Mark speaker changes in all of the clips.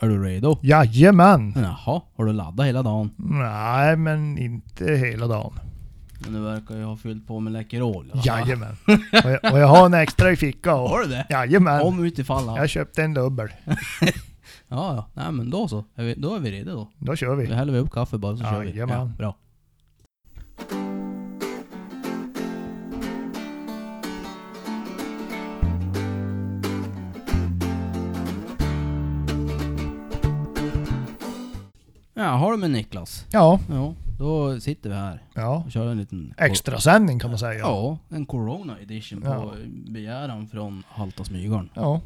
Speaker 1: Är du redo?
Speaker 2: Jajamän!
Speaker 1: Jaha, har du laddat hela dagen?
Speaker 2: Nej, men inte hela dagen.
Speaker 1: Men du verkar ju ha fyllt på med Läkerol. va?
Speaker 2: Jajamän. Och jag, och jag har en extra i fickan. och-
Speaker 1: Har du det?
Speaker 2: Jajamän.
Speaker 1: Om utifall han... Ja,
Speaker 2: Jag köpte en dubbel.
Speaker 1: ja. Nej men då så. Är vi, då är vi redo då.
Speaker 2: Då kör
Speaker 1: Då
Speaker 2: vi.
Speaker 1: häller vi upp kaffe bara så kör vi.
Speaker 2: Jajamän.
Speaker 1: bra. Ja, har du med Niklas?
Speaker 2: Ja,
Speaker 1: Ja, då sitter vi här
Speaker 2: ja.
Speaker 1: och kör en liten...
Speaker 2: Extra sändning kan man säga.
Speaker 1: Ja, en Corona edition på
Speaker 2: Ja.
Speaker 1: begäran från Halta Smygaren.
Speaker 2: Ja,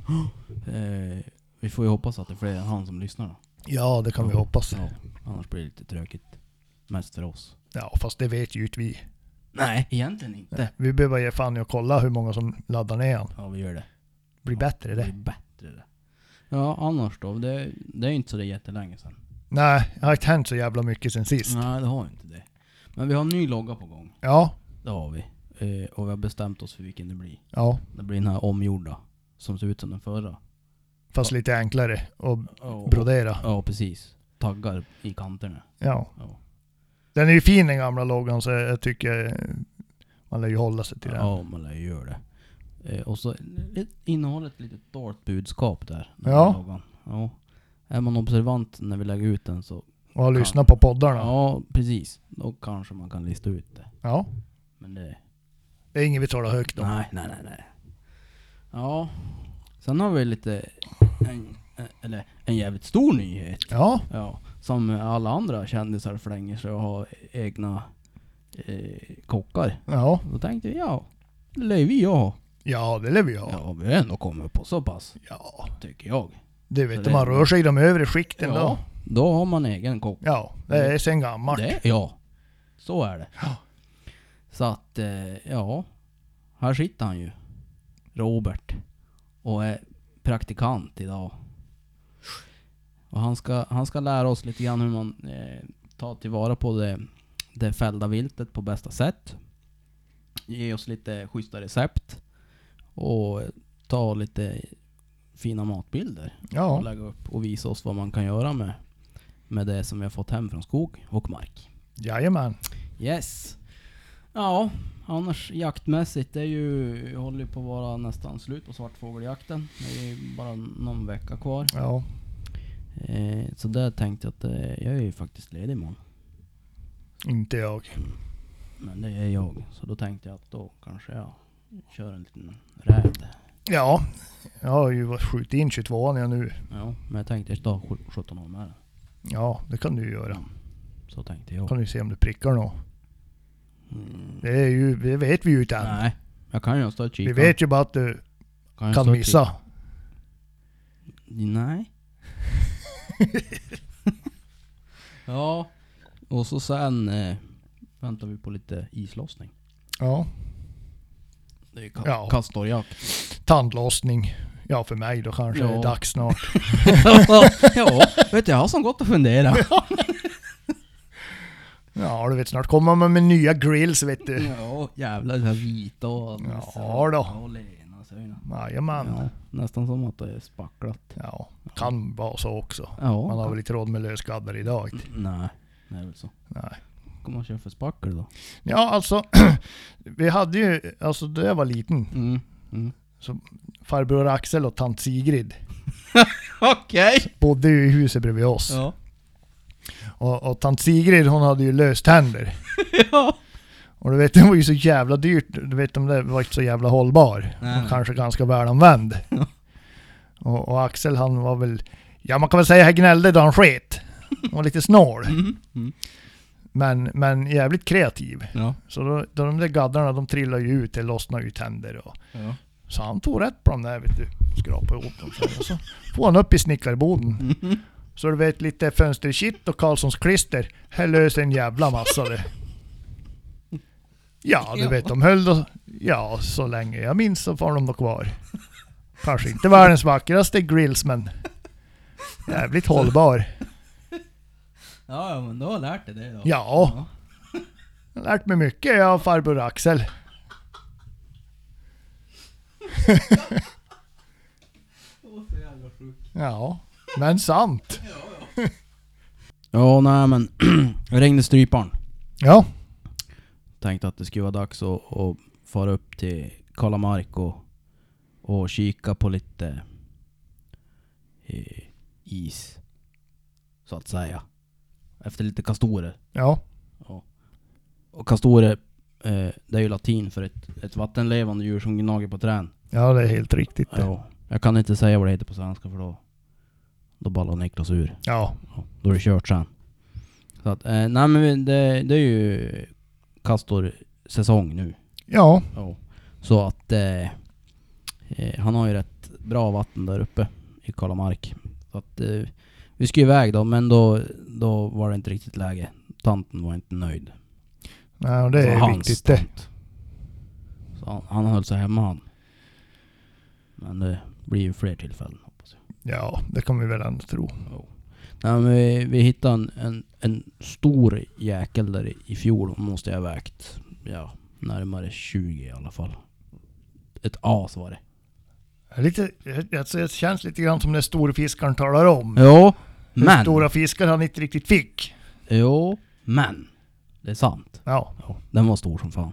Speaker 1: Eh, vi får ju hoppas att det är fler än han som lyssnar då.
Speaker 2: ja det kan vi hoppas.
Speaker 1: Ja, annars blir det lite tråkigt. Mest för oss.
Speaker 2: Ja, fast det vet ju inte vi.
Speaker 1: Nej, egentligen inte.
Speaker 2: Vi behöver ge fan i att kolla hur många som laddar ner han.
Speaker 1: Ja, vi gör det.
Speaker 2: Blir bättre
Speaker 1: Det är
Speaker 2: det.
Speaker 1: bättre det. Ja, annars då? Det, det är inte så det är jättelänge sedan.
Speaker 2: Nej, det har inte hänt så jävla mycket sen sist.
Speaker 1: Nej, det har ju inte det. Men vi har en ny logga på gång.
Speaker 2: Ja,
Speaker 1: Det har vi. Eh, och vi har bestämt oss för vilken det blir.
Speaker 2: ja.
Speaker 1: Det blir den här omgjorda. Som ser ut som den förra.
Speaker 2: Fast lite enklare och
Speaker 1: Ja,
Speaker 2: brodera.
Speaker 1: ja precis. Taggar i kanterna.
Speaker 2: Ja.
Speaker 1: Ja.
Speaker 2: Den är ju fin den gamla loggan så jag tycker man lär ju hålla sig till den.
Speaker 1: Ja, man lär ju göra det. Eh, och så li- innehåller ett litet dolt budskap där. den
Speaker 2: Ja.
Speaker 1: här loggan. ja. Är man observant när vi lägger ut den så...
Speaker 2: Och har lyssnat på poddarna.
Speaker 1: Ja, precis. Då kanske man kan lista ut det.
Speaker 2: Ja.
Speaker 1: Men det...
Speaker 2: Det är inget vi talar högt om.
Speaker 1: Nej, nej, nej, nej. Ja. Sen har vi lite... En, eh, eller en jävligt stor nyhet.
Speaker 2: Ja,
Speaker 1: Ja. Som alla andra kändisar flänger sig och har egna eh, kockar.
Speaker 2: ja.
Speaker 1: Då tänkte vi, ja. Det lär ju vi ha.
Speaker 2: Ja, det lever jag.
Speaker 1: Ja, vi har ändå kommit på så pass.
Speaker 2: Ja.
Speaker 1: Tycker jag.
Speaker 2: Det
Speaker 1: Så
Speaker 2: vet
Speaker 1: det-
Speaker 2: du, man rör sig i de övre skikten då.
Speaker 1: Ja, då har man egen kock.
Speaker 2: Ja, det är sen gammalt.
Speaker 1: Det, ja, så är det.
Speaker 2: Ja.
Speaker 1: Så att, eh, ja. Här sitter han ju. Robert. Och är praktikant idag. Och han ska, han ska lära oss lite grann hur man eh, tar tillvara på det, det fällda viltet på bästa sätt. Ge oss lite schyssta recept. Och eh, ta lite fina matbilder och
Speaker 2: Ja,
Speaker 1: lägga upp och visa oss vad man kan göra med, med det som vi har fått hem från skog och mark.
Speaker 2: jajamän.
Speaker 1: Yes! Ja, annars jaktmässigt, det är ju, jag håller ju på att vara nästan slut på svartfågeljakten. Det är ju bara någon vecka kvar.
Speaker 2: Ja.
Speaker 1: Eh, så där tänkte jag att eh, jag är ju faktiskt ledig imorgon.
Speaker 2: Inte jag.
Speaker 1: Men det är jag. Så då tänkte jag att då kanske jag kör en liten räd.
Speaker 2: Ja. Jag har ju skjutit in 22an jag nu.
Speaker 1: Ja, men jag tänkte jag tar sj- 17 år med den.
Speaker 2: Ja, det kan du ju göra.
Speaker 1: Så tänkte jag.
Speaker 2: Kan du se om du prickar något.
Speaker 1: Mm.
Speaker 2: Det, är ju, det vet vi ju inte än.
Speaker 1: Nej, jag kan ju ha stött
Speaker 2: Vi
Speaker 1: kikaren.
Speaker 2: vet ju bara att du
Speaker 1: jag
Speaker 2: kan
Speaker 1: stå och
Speaker 2: missa.
Speaker 1: Nej. ja, och så sen eh, väntar vi på lite islossning.
Speaker 2: Ja.
Speaker 1: Det är ka-
Speaker 2: Ja.
Speaker 1: kastorjakt.
Speaker 2: Tandlossning. Ja, för mig då kanske.
Speaker 1: Ja.
Speaker 2: Det är dags snart.
Speaker 1: ja, vet du, jag har som gått och funderat.
Speaker 2: Ja, du vet snart kommer man med nya grills vet du.
Speaker 1: ja, jävlar. Den här vita och...
Speaker 2: Ja då.
Speaker 1: Och lena söna.
Speaker 2: Jajamän.
Speaker 1: Ja, nästan som att det är spacklat.
Speaker 2: Ja. Kan vara så också.
Speaker 1: Ja.
Speaker 2: Man har väl inte råd med löskaddar idag.
Speaker 1: Mm, Nej, det är väl så.
Speaker 2: Nej.
Speaker 1: Vad kan man köra för spackel då?
Speaker 2: Ja, alltså. Vi hade ju, alltså när jag var liten,
Speaker 1: Mm. mm.
Speaker 2: farbror Axel och tant Sigrid
Speaker 1: Okej!
Speaker 2: bodde ju i huset bredvid oss.
Speaker 1: Ja.
Speaker 2: Och, och tant Sigrid hon hade ju löständer.
Speaker 1: ja.
Speaker 2: Och du vet, det var ju så jävla dyrt. Du vet, de där var inte så jävla hållbar.
Speaker 1: Nej, nej.
Speaker 2: Och kanske ganska välanvänd. och, och Axel han var väl... Ja, man kan väl säga han gnällde då han sket. Han var lite snål.
Speaker 1: Mm. Mm.
Speaker 2: Men, men jävligt kreativ.
Speaker 1: Ja.
Speaker 2: Så då, då de där gaddarna de trillade ju ut, det lossnade ju tänder och...
Speaker 1: Ja.
Speaker 2: Så han tog rätt på dem där vet du. Skrapade ihop dem sen och så får han upp i snickarboden.
Speaker 1: Mm.
Speaker 2: Så du vet lite fönsterkitt och Karlssons klister. Här löser en jävla massa det. Ja du vet de höll då, ja så länge jag minns så var de då kvar. Kanske inte världens vackraste grills men jävligt hållbar.
Speaker 1: Ja, ja, men då har jag lärt dig det då.
Speaker 2: Ja. Jag har lärt mig mycket jag och farbror Axel.
Speaker 1: Åh, så jävla sjukt.
Speaker 2: Ja. Men sant.
Speaker 1: Ja, nej men. jag ringde stryparen.
Speaker 2: Ja.
Speaker 1: Tänkte att det skulle vara dags att, att fara upp till Kalamark och, och kika på lite eh, is. Så att säga. Efter lite kastorer.
Speaker 2: Ja.
Speaker 1: Och kastorer, eh, det är ju latin för ett, ett vattenlevande djur som gnager på trän.
Speaker 2: Ja, det är helt riktigt. det.
Speaker 1: Ja. Jag kan inte säga vad det heter på svenska för då, då ballar Niklas ur.
Speaker 2: Ja.
Speaker 1: Ja, Då är det kört sen. Så att, eh, nej men vi- det, det är ju Castor-säsong nu.
Speaker 2: Ja.
Speaker 1: Så att eh, eh, han har ju rätt bra vatten där uppe i Kalamark. Så att eh, vi skulle iväg då, men då, då var det inte riktigt läge. Tanten var inte nöjd.
Speaker 2: Nej, och det
Speaker 1: Alltså,
Speaker 2: är
Speaker 1: hans
Speaker 2: viktigt det.
Speaker 1: tant. Så han, han höll sig hemma han. Men det blir ju fler tillfällen hoppas jag.
Speaker 2: Ja, det kan vi väl ändå tro.
Speaker 1: Nej, men vi, vi hittade en, en, en stor jäkel där i- i fjol, måste jag ha vägt. Ja, närmare 20 i alla fall. Ett as var det.
Speaker 2: Lite, alltså, det känns lite grann som den stora fiskaren talar om.
Speaker 1: Jo,
Speaker 2: Hur
Speaker 1: men.
Speaker 2: stora fiskar han inte riktigt fick.
Speaker 1: Jo, men. Det är sant.
Speaker 2: Ja.
Speaker 1: Ja, den var stor som fan.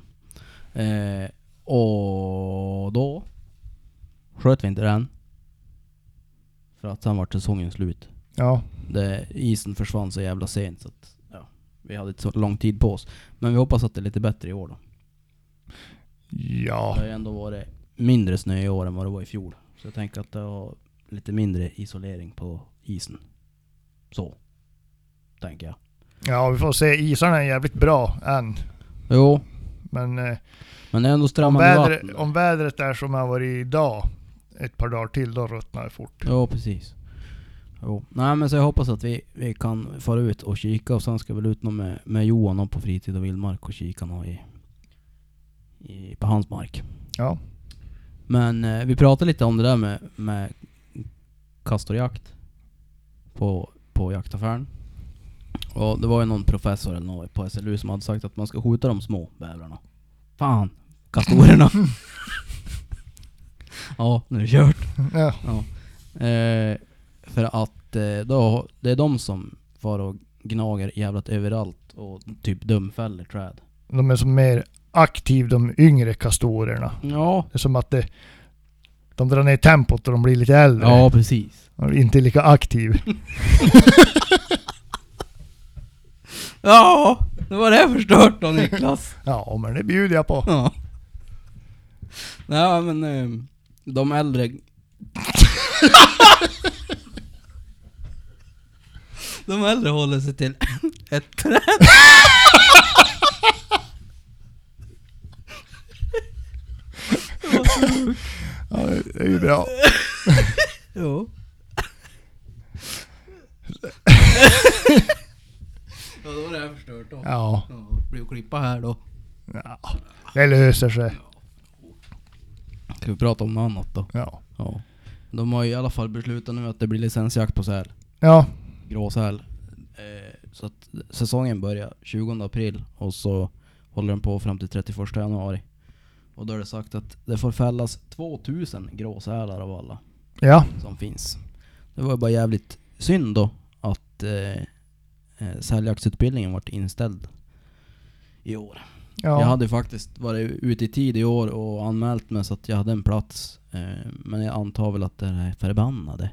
Speaker 1: Eh, och då sköt vi inte den. För att sen var säsongen slut.
Speaker 2: Ja.
Speaker 1: Det, isen försvann så jävla sent så att, ja, vi hade inte så lång tid på oss. Men vi hoppas att det är lite bättre i år då. Det
Speaker 2: Ja.
Speaker 1: har ju ändå varit mindre snö i år än vad det var i fjol. Så jag tänker att det har lite mindre isolering på isen. Så. Tänker jag.
Speaker 2: Ja, vi får se. Isarna är jävligt bra än.
Speaker 1: Jo,
Speaker 2: Men eh,
Speaker 1: men det är ändå
Speaker 2: om,
Speaker 1: strömmande vatten.
Speaker 2: vädret,
Speaker 1: där.
Speaker 2: om vädret är som det har varit idag ett par dagar till, då ruttnar det fort.
Speaker 1: Jo, precis. Jo. Nej men så jag hoppas att vi, vi kan fara ut och kika och sen ska vi väl ut någon med, med Johan och på fritid och vildmark och kika nå i, i, på hans mark.
Speaker 2: Ja.
Speaker 1: Men eh, vi pratade lite om det där med, med kastorjakt på, på jaktaffären. Och det var ju någon professor eller något på SLU som hade sagt att man ska skjuta de små bävrarna. Fan! Kastorerna! ja, nu är det kört.
Speaker 2: Ja.
Speaker 1: Eh, för att eh, då, det är de som far och gnager jävligt överallt och typ dumfäller träd.
Speaker 2: De är som mer aktiv de yngre kastorerna.
Speaker 1: Ja.
Speaker 2: Det är som att det, de drar ner tempot och de blir lite äldre.
Speaker 1: Ja, precis.
Speaker 2: De är inte lika aktiv.
Speaker 1: Ja! Nu var det förstört då Niklas.
Speaker 2: Ja, men det bjuder jag på.
Speaker 1: Ja. Nej men ehm, de äldre... de äldre håller sig till ett träd.
Speaker 2: Ja, det är ju bra.
Speaker 1: Jo. ja då var det här förstört då.
Speaker 2: Ja,
Speaker 1: Ja, blir att klippa här då.
Speaker 2: det löser sig.
Speaker 1: Ska vi prata om något annat då?
Speaker 2: Ja.
Speaker 1: Ja. De har ju i alla fall beslutat nu att det blir licensjakt på säl.
Speaker 2: Ja,
Speaker 1: gråsäl. Eh, så att säsongen börjar 20 april och så håller den på fram till 31 januari. Och då är det sagt att det får fällas 2000 gråsälar av alla
Speaker 2: ja,
Speaker 1: som finns. Det var ju bara jävligt synd då att eh, eh, säljaktsutbildningen vart inställd i år.
Speaker 2: ja.
Speaker 1: Jag hade faktiskt varit ute i tid i år och anmält mig så att jag hade en plats. Eh, men jag antar väl att det är förbannade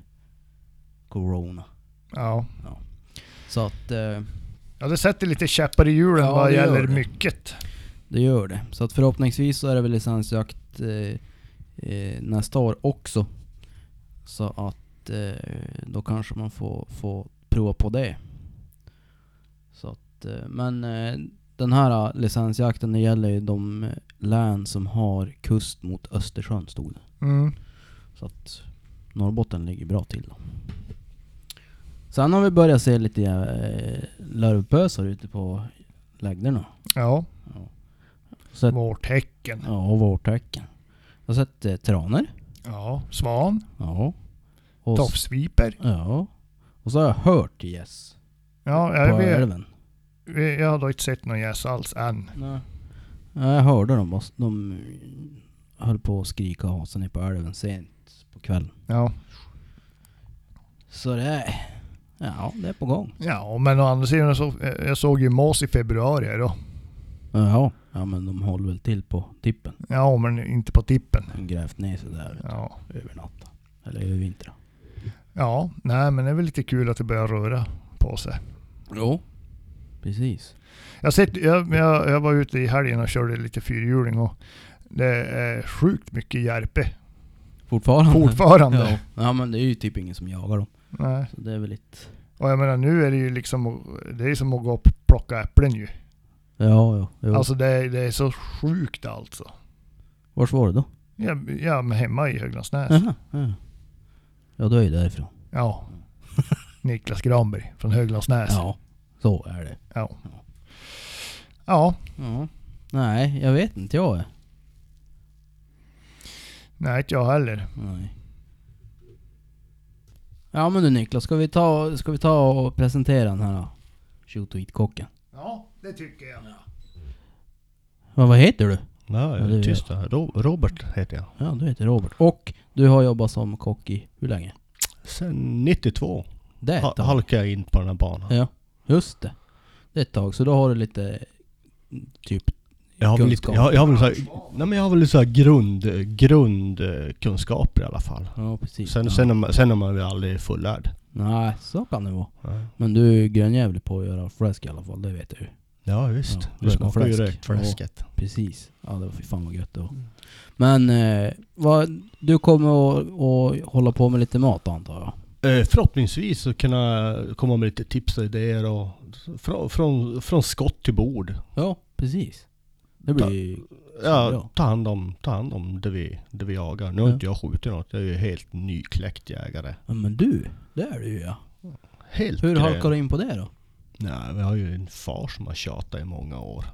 Speaker 1: Corona.
Speaker 2: ja.
Speaker 1: Så att... Eh,
Speaker 2: ja, det sätter lite käppar i hjulen
Speaker 1: Ja,
Speaker 2: vad
Speaker 1: det gör
Speaker 2: gäller
Speaker 1: det.
Speaker 2: mycket.
Speaker 1: Det gör det. Så att förhoppningsvis så är det väl licensjakt eh, eh, nästa år också. Så att eh, då kanske man får, får prova på det. Så att, eh, men eh, den här eh, licensjakten det gäller ju de eh, län som har kust mot Östersjön stod det.
Speaker 2: Mm.
Speaker 1: Så att Norrbotten ligger bra till då. Sen har vi börjat se lite eh, lövpösar ute på lägderna.
Speaker 2: Ja,
Speaker 1: Så att-
Speaker 2: vårt häcken.
Speaker 1: Ja, och vårtecken. Jag har sett eh, tranor.
Speaker 2: Ja, svan,
Speaker 1: Ja. Och s-
Speaker 2: tofsviper.
Speaker 1: Ja. Och så har jag hört gäss.
Speaker 2: Ja,
Speaker 1: På
Speaker 2: jag, vet,
Speaker 1: älven.
Speaker 2: jag har då inte sett någon gäss alls än.
Speaker 1: Nej. Jag hörde dem. och s- De höll på att skrika och hasa ner på älven sent på kvällen.
Speaker 2: Ja,
Speaker 1: Så det... Ja, det är på gång.
Speaker 2: Ja, men å andra sidan så, eh, jag såg ju Mås i februari här då.
Speaker 1: Ja, ja men de håller väl till på tippen.
Speaker 2: Ja, men inte på tippen.
Speaker 1: De grävt ner sig där
Speaker 2: Ja,
Speaker 1: övernatta. Eller övervintra.
Speaker 2: ja nej men det är väl lite kul att det börjar röra på sig.
Speaker 1: Jo. Precis.
Speaker 2: Jag, sett, jag, jag, jag var ute i helgen och körde lite fyrhjuling och det är sjukt mycket järpe
Speaker 1: Fortfarande.
Speaker 2: fortfarande.
Speaker 1: Ja. ja men det är ju typ ingen som jagar dem.
Speaker 2: Nej.
Speaker 1: Så det är väl lite...
Speaker 2: Och jag menar nu är det ju liksom, det är som att gå och plocka äpplen ju.
Speaker 1: Ja, ja. Jo.
Speaker 2: Alltså det, är- det är så sjukt alltså.
Speaker 1: Vars var det då?
Speaker 2: Ja, ja men hemma i Höglandsnäs.
Speaker 1: Jaha, ja. ja, du är ju därifrån.
Speaker 2: Ja. Niklas Granberg från Höglandsnäs. Ja.
Speaker 1: Ja, så är det.
Speaker 2: Ja. ja.
Speaker 1: Ja. Nej, jag vet inte jag är.
Speaker 2: Nej, inte jag heller.
Speaker 1: Nej. Ja men du Niklas, ska vi ta, ska vi ta och presentera den här shoot och eat-kocken?
Speaker 2: Ja, det tycker jag.
Speaker 1: Ja, vad heter du?
Speaker 3: Ja,
Speaker 1: Ja,
Speaker 3: jag
Speaker 1: det
Speaker 3: är
Speaker 1: är
Speaker 3: tyst där. Ro- Robert heter jag.
Speaker 1: Ja, du heter Robert. Och du har jobbat som kock i hur länge?
Speaker 3: Sen 92
Speaker 1: Det är ett
Speaker 3: ha-
Speaker 1: tag.
Speaker 3: halkade jag in på den här banan.
Speaker 1: Ja, just det. Det är ett tag, så då har du lite mm, typ...
Speaker 3: Jag har väl lite,
Speaker 1: kunskap.
Speaker 3: jag, har- jag har väl så här, nej men jag har väl så här grund, grundkunskaper i alla fall.
Speaker 1: Ja, precis.
Speaker 3: Sen,
Speaker 1: ja.
Speaker 3: sen, är man, sen är man väl aldrig fullärd.
Speaker 1: Nej, så kan det vara.
Speaker 3: Ja,
Speaker 1: Men du är grönjävlig på att göra fläsk i alla fall, det vet jag ju.
Speaker 3: ja visst.
Speaker 1: Ja,
Speaker 3: du smakar ju
Speaker 1: fläsk.
Speaker 3: rökt fläsket.
Speaker 1: Precis. Ja, det var fy fan vad gött det var. Men eh, vad, du kommer att, att hålla på med lite mat antar jag?
Speaker 3: Eh, förhoppningsvis så kunna komma med lite tips och idéer och från, från, från skott till bord.
Speaker 1: Ja, precis. Det blir ju...
Speaker 3: Ja,
Speaker 1: Bra.
Speaker 3: ta hand om, ta hand om det vi, det vi jagar. Nu har
Speaker 1: Ja.
Speaker 3: inte jag skjutit något. Jag är ju helt nykläckt jägare.
Speaker 1: Ja, men du, det är du ju ja.
Speaker 3: Helt
Speaker 1: Hur
Speaker 3: grön.
Speaker 1: halkar du in på det då?
Speaker 3: Nej, vi har ju en far som har tjatat i många år.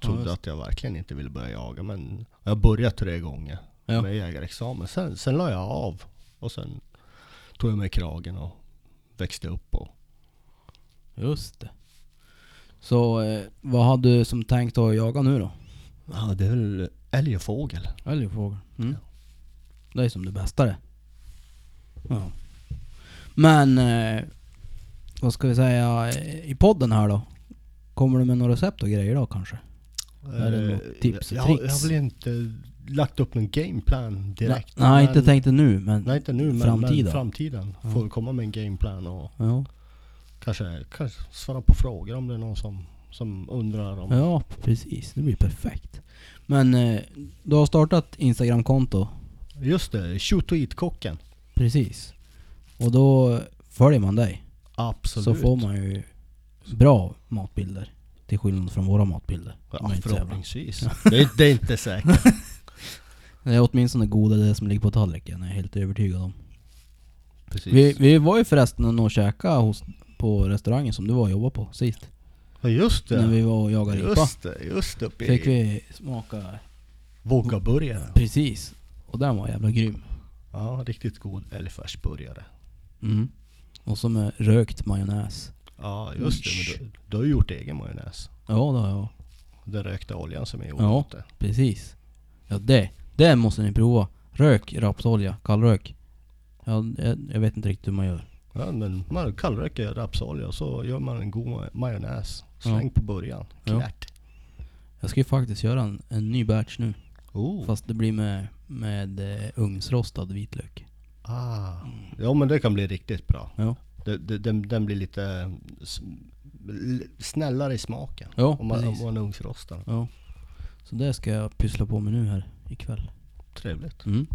Speaker 3: Trodde
Speaker 1: just.
Speaker 3: att jag verkligen inte ville börja jaga, men jag har börjat tre gånger
Speaker 1: Ja.
Speaker 3: med jägarexamen. Sen, sen la jag av och sen tog jag mig i kragen och växte upp. Och,
Speaker 1: Just det. Så eh, vad hade du som tänkt att jaga nu då?
Speaker 3: ja, det är väl älg och fågel.
Speaker 1: Älg och fågel. Mm.
Speaker 3: Ja.
Speaker 1: Det är som det bästa det. Ja. Men eh, vad ska vi säga eh, i podden här då? Kommer du med några recept och grejer då kanske? Är det
Speaker 3: Eh,
Speaker 1: något tips och
Speaker 3: jag, jag, jag
Speaker 1: tricks?
Speaker 3: har väl inte lagt upp någon gameplan direkt.
Speaker 1: Nej, inte
Speaker 3: men-
Speaker 1: tänkte nu men...
Speaker 3: Nej inte nu men framtiden,
Speaker 1: Framtida.
Speaker 3: men framtiden
Speaker 1: Ja.
Speaker 3: får vi komma med en gameplan och
Speaker 1: Ja.
Speaker 3: kanske, kanske svara på frågor om det är någon som, som undrar om...
Speaker 1: ja, precis. Det blir perfekt. Men eh, du har startat Instagram-konto.
Speaker 3: Just det, shoot och eat-kocken.
Speaker 1: Precis. Och då följer man dig.
Speaker 3: Absolut.
Speaker 1: Så får man ju bra matbilder. Till skillnad från våra matbilder.
Speaker 3: Ja,
Speaker 1: De är inte så jävla-
Speaker 3: förhoppningsvis. Det är, det är inte säkert.
Speaker 1: Det är åtminstone goda det som ligger på tallriken, jag är helt övertygad om.
Speaker 3: Precis.
Speaker 1: Vi, vi var ju förresten och käkade hos, på restaurangen som du var och jobbade på sist.
Speaker 3: ja, just
Speaker 1: När
Speaker 3: det.
Speaker 1: vi var och jagade ripa.
Speaker 3: Just det, just uppe
Speaker 1: Fick
Speaker 3: i
Speaker 1: vi smaka.
Speaker 3: Vågaburgare.
Speaker 1: Precis. Och den var jävla grym.
Speaker 3: Ja, riktigt god älgfärsburgare.
Speaker 1: Mm. Och så med rökt majonnäs.
Speaker 3: Ja, just det. Men du, du har ju gjort egen majonnäs.
Speaker 1: Ja, det har jag.
Speaker 3: Den rökta oljan som är
Speaker 1: Ja.
Speaker 3: gjord.
Speaker 1: Precis. Ja, det. Det måste ni prova. Rök rapsolja, kallrök. Ja, jag, jag vet inte riktigt hur man gör.
Speaker 3: Ja, men man kallröker rapsolja och så gör man en god ma- majonnäs. Släng
Speaker 1: Ja.
Speaker 3: på början.
Speaker 1: Ja.
Speaker 3: Klart.
Speaker 1: Jag ska ju faktiskt göra en, en ny batch nu.
Speaker 3: Oh.
Speaker 1: Fast det blir med, med eh, ugnsrostad vitlök.
Speaker 3: Ah. Ja men det kan bli riktigt bra.
Speaker 1: Ja.
Speaker 3: Det, det, den, den blir lite eh, s- l- snällare i smaken.
Speaker 1: Ja,
Speaker 3: Om man, om
Speaker 1: precis.
Speaker 3: man ugnsrostar.
Speaker 1: Ja. Så det ska jag pyssla på med nu här ikväll.
Speaker 3: Trevligt.
Speaker 1: Mm.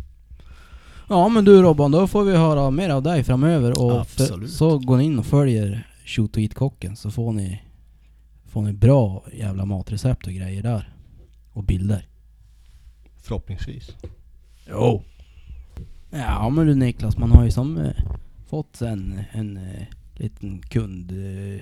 Speaker 1: Ja men du Robban, då får vi höra mer av dig framöver och för-
Speaker 3: Absolut.
Speaker 1: så går ni in och följer Shoot och Eat-kocken så får ni, får ni bra jävla matrecept och grejer där. Och bilder.
Speaker 3: Förhoppningsvis.
Speaker 1: Jo. Ja men du Niklas, man har ju som eh, fått en, en eh, liten kundbas eh,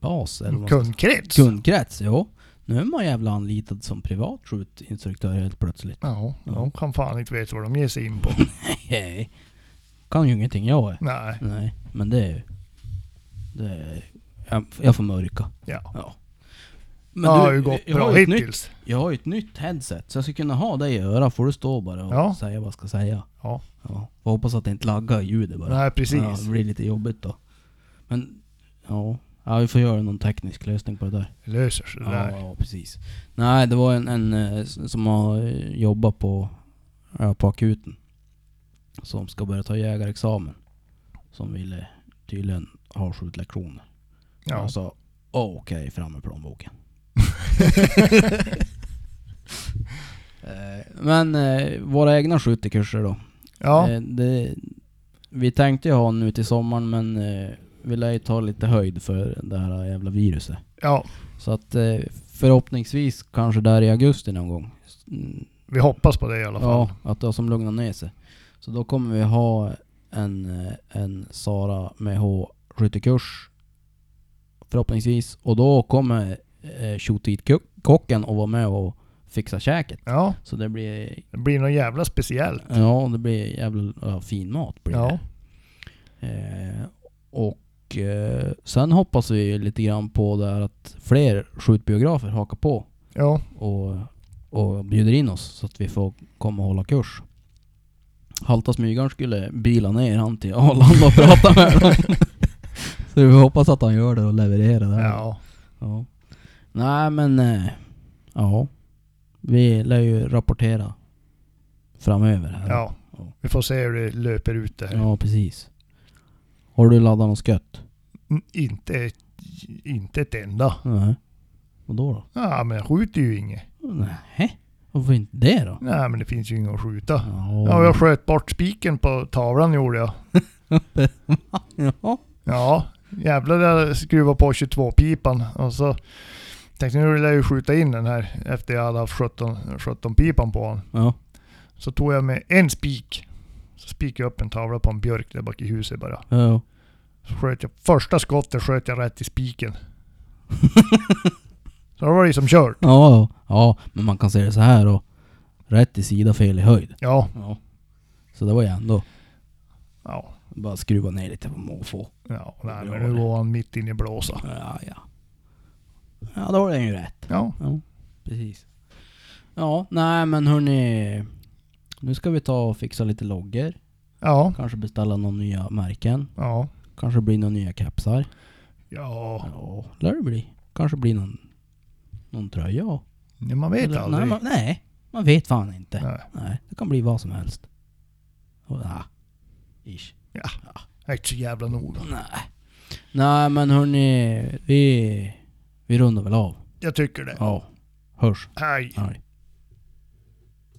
Speaker 1: bas, eller vad man ska-
Speaker 2: Kundkrets?
Speaker 1: Kundkrets, jo. Nu är man jävla anlitad som privat skjutinstruktör helt plötsligt.
Speaker 2: Ja, de kan fan inte veta vad de ger sig in på.
Speaker 1: Nej. Kan ju ingenting jag är.
Speaker 2: Nej,
Speaker 1: Nej, men det är ju... Det är, jag, jag får mörka.
Speaker 2: ja.
Speaker 1: Ja.
Speaker 2: det har ju
Speaker 1: jag-
Speaker 2: gått
Speaker 1: jag
Speaker 2: bra
Speaker 1: har ju ett nytt,
Speaker 2: hittills.
Speaker 1: Jag har ju ett nytt headset, så jag skulle kunna ha dig i örat. får du stå bara och
Speaker 2: Ja.
Speaker 1: säga vad jag ska säga.
Speaker 2: Ja.
Speaker 1: Ja, får hoppas att det inte laggar i ljudet bara.
Speaker 2: Nej, precis.
Speaker 1: Ja, det blir lite jobbigt då. Men ja, ja vi får göra någon teknisk lösning på det där.
Speaker 2: Det löser sig det
Speaker 1: Ja,
Speaker 2: där.
Speaker 1: ja, precis. Nej, det var en, en eh, s- som har eh, jobbat på, ja, på akuten. Som ska börja ta jägarexamen. Som ville tydligen ha skjutlektioner. Ja.
Speaker 2: Ja.
Speaker 1: Jag sa "Åh, okej, fram med plånboken. Eh, Men eh, våra egna skyttekurser då.
Speaker 2: ja.
Speaker 1: Eh, det, vi tänkte ju ha en nu till sommaren men eh, vi lär ju ta lite höjd för det här jävla viruset.
Speaker 2: ja,
Speaker 1: Så att eh, förhoppningsvis kanske där i augusti någon gång. Mm,
Speaker 2: vi hoppas på det i alla fall.
Speaker 1: Ja, att det har som lugnat ner sig. Så då kommer vi ha en, eh, en Sara med H skyttekurs förhoppningsvis. Och då kommer eh, tjotit-kocken och vara med och fixa käket.
Speaker 2: Ja,
Speaker 1: Så det blir,
Speaker 2: det blir något jävla speciellt.
Speaker 1: ja, det blir jävla ja, fin mat. Blir det.
Speaker 2: Ja,
Speaker 1: Eh, och eh, sen hoppas vi lite grann på det här att fler skjutbiografer hakar på
Speaker 2: ja,
Speaker 1: och, och bjuder in oss så att vi får komma och hålla kurs. Halta smygaren skulle bila ner han till Arlanda och prata med honom. så vi hoppas att han gör det och levererar det. här.
Speaker 2: ja.
Speaker 1: Ja. Nej men, eh, ja. Vi lär ju rapportera framöver här.
Speaker 2: ja. Vi får se hur det löper ut det här.
Speaker 1: ja precis. Har du laddat något skött?
Speaker 2: Mm, Inte, ett- inte ett enda.
Speaker 1: Nej. Och då då?
Speaker 2: Ja, men jag skjuter ju inget.
Speaker 1: Nej. Varför inte det då?
Speaker 2: Nej, men det finns ju inget att skjuta.
Speaker 1: Ja,
Speaker 2: Ja, jag sköt bort spiken på tavlan gjorde jag.
Speaker 1: ja.
Speaker 2: Ja, jävlar jag skruvade på 22-pipan och så tänkte jag nu vill jag ju skjuta in den här efter jag hade haft 17, 17-pipan på den.
Speaker 1: ja.
Speaker 2: Så tog jag med en spik. Så spikade jag upp en tavla på en björk där bak i huset bara.
Speaker 1: ja.
Speaker 2: Så sköt jag, första skottet sköt jag rätt i spiken. så då var det ju som kört.
Speaker 1: Ja, ja, men man kan se det så här då. Rätt i sida, fel i höjd.
Speaker 2: Ja,
Speaker 1: Ja. Så det var ju ändå
Speaker 2: ja,
Speaker 1: bara skruva ner lite på måfå.
Speaker 2: ja. Nej, men nu var han mitt inne i blåsa.
Speaker 1: Ja, ja. Ja, då har den ju rätt.
Speaker 2: Ja,
Speaker 1: Ja, precis. Ja, nej men hörni. Nu ska vi ta och fixa lite loggor.
Speaker 2: ja,
Speaker 1: Kanske beställa några nya märken.
Speaker 2: ja,
Speaker 1: Kanske blir några nya kepsar.
Speaker 2: ja.
Speaker 1: Ja, lär det bli. Kanske blir någon, någon tröja.
Speaker 2: Nej, man vet
Speaker 1: Eller- nej,
Speaker 2: aldrig.
Speaker 1: man, nej, man vet fan inte.
Speaker 2: Nej.
Speaker 1: Nej, det kan bli vad som helst. Och, ja, ish.
Speaker 2: Jag är inte så jävla noga.
Speaker 1: Nej. Nej men hörni, vi, vi rundar väl av.
Speaker 2: Jag tycker det.
Speaker 1: Ja. Hörs.
Speaker 2: Hej.
Speaker 1: Hej.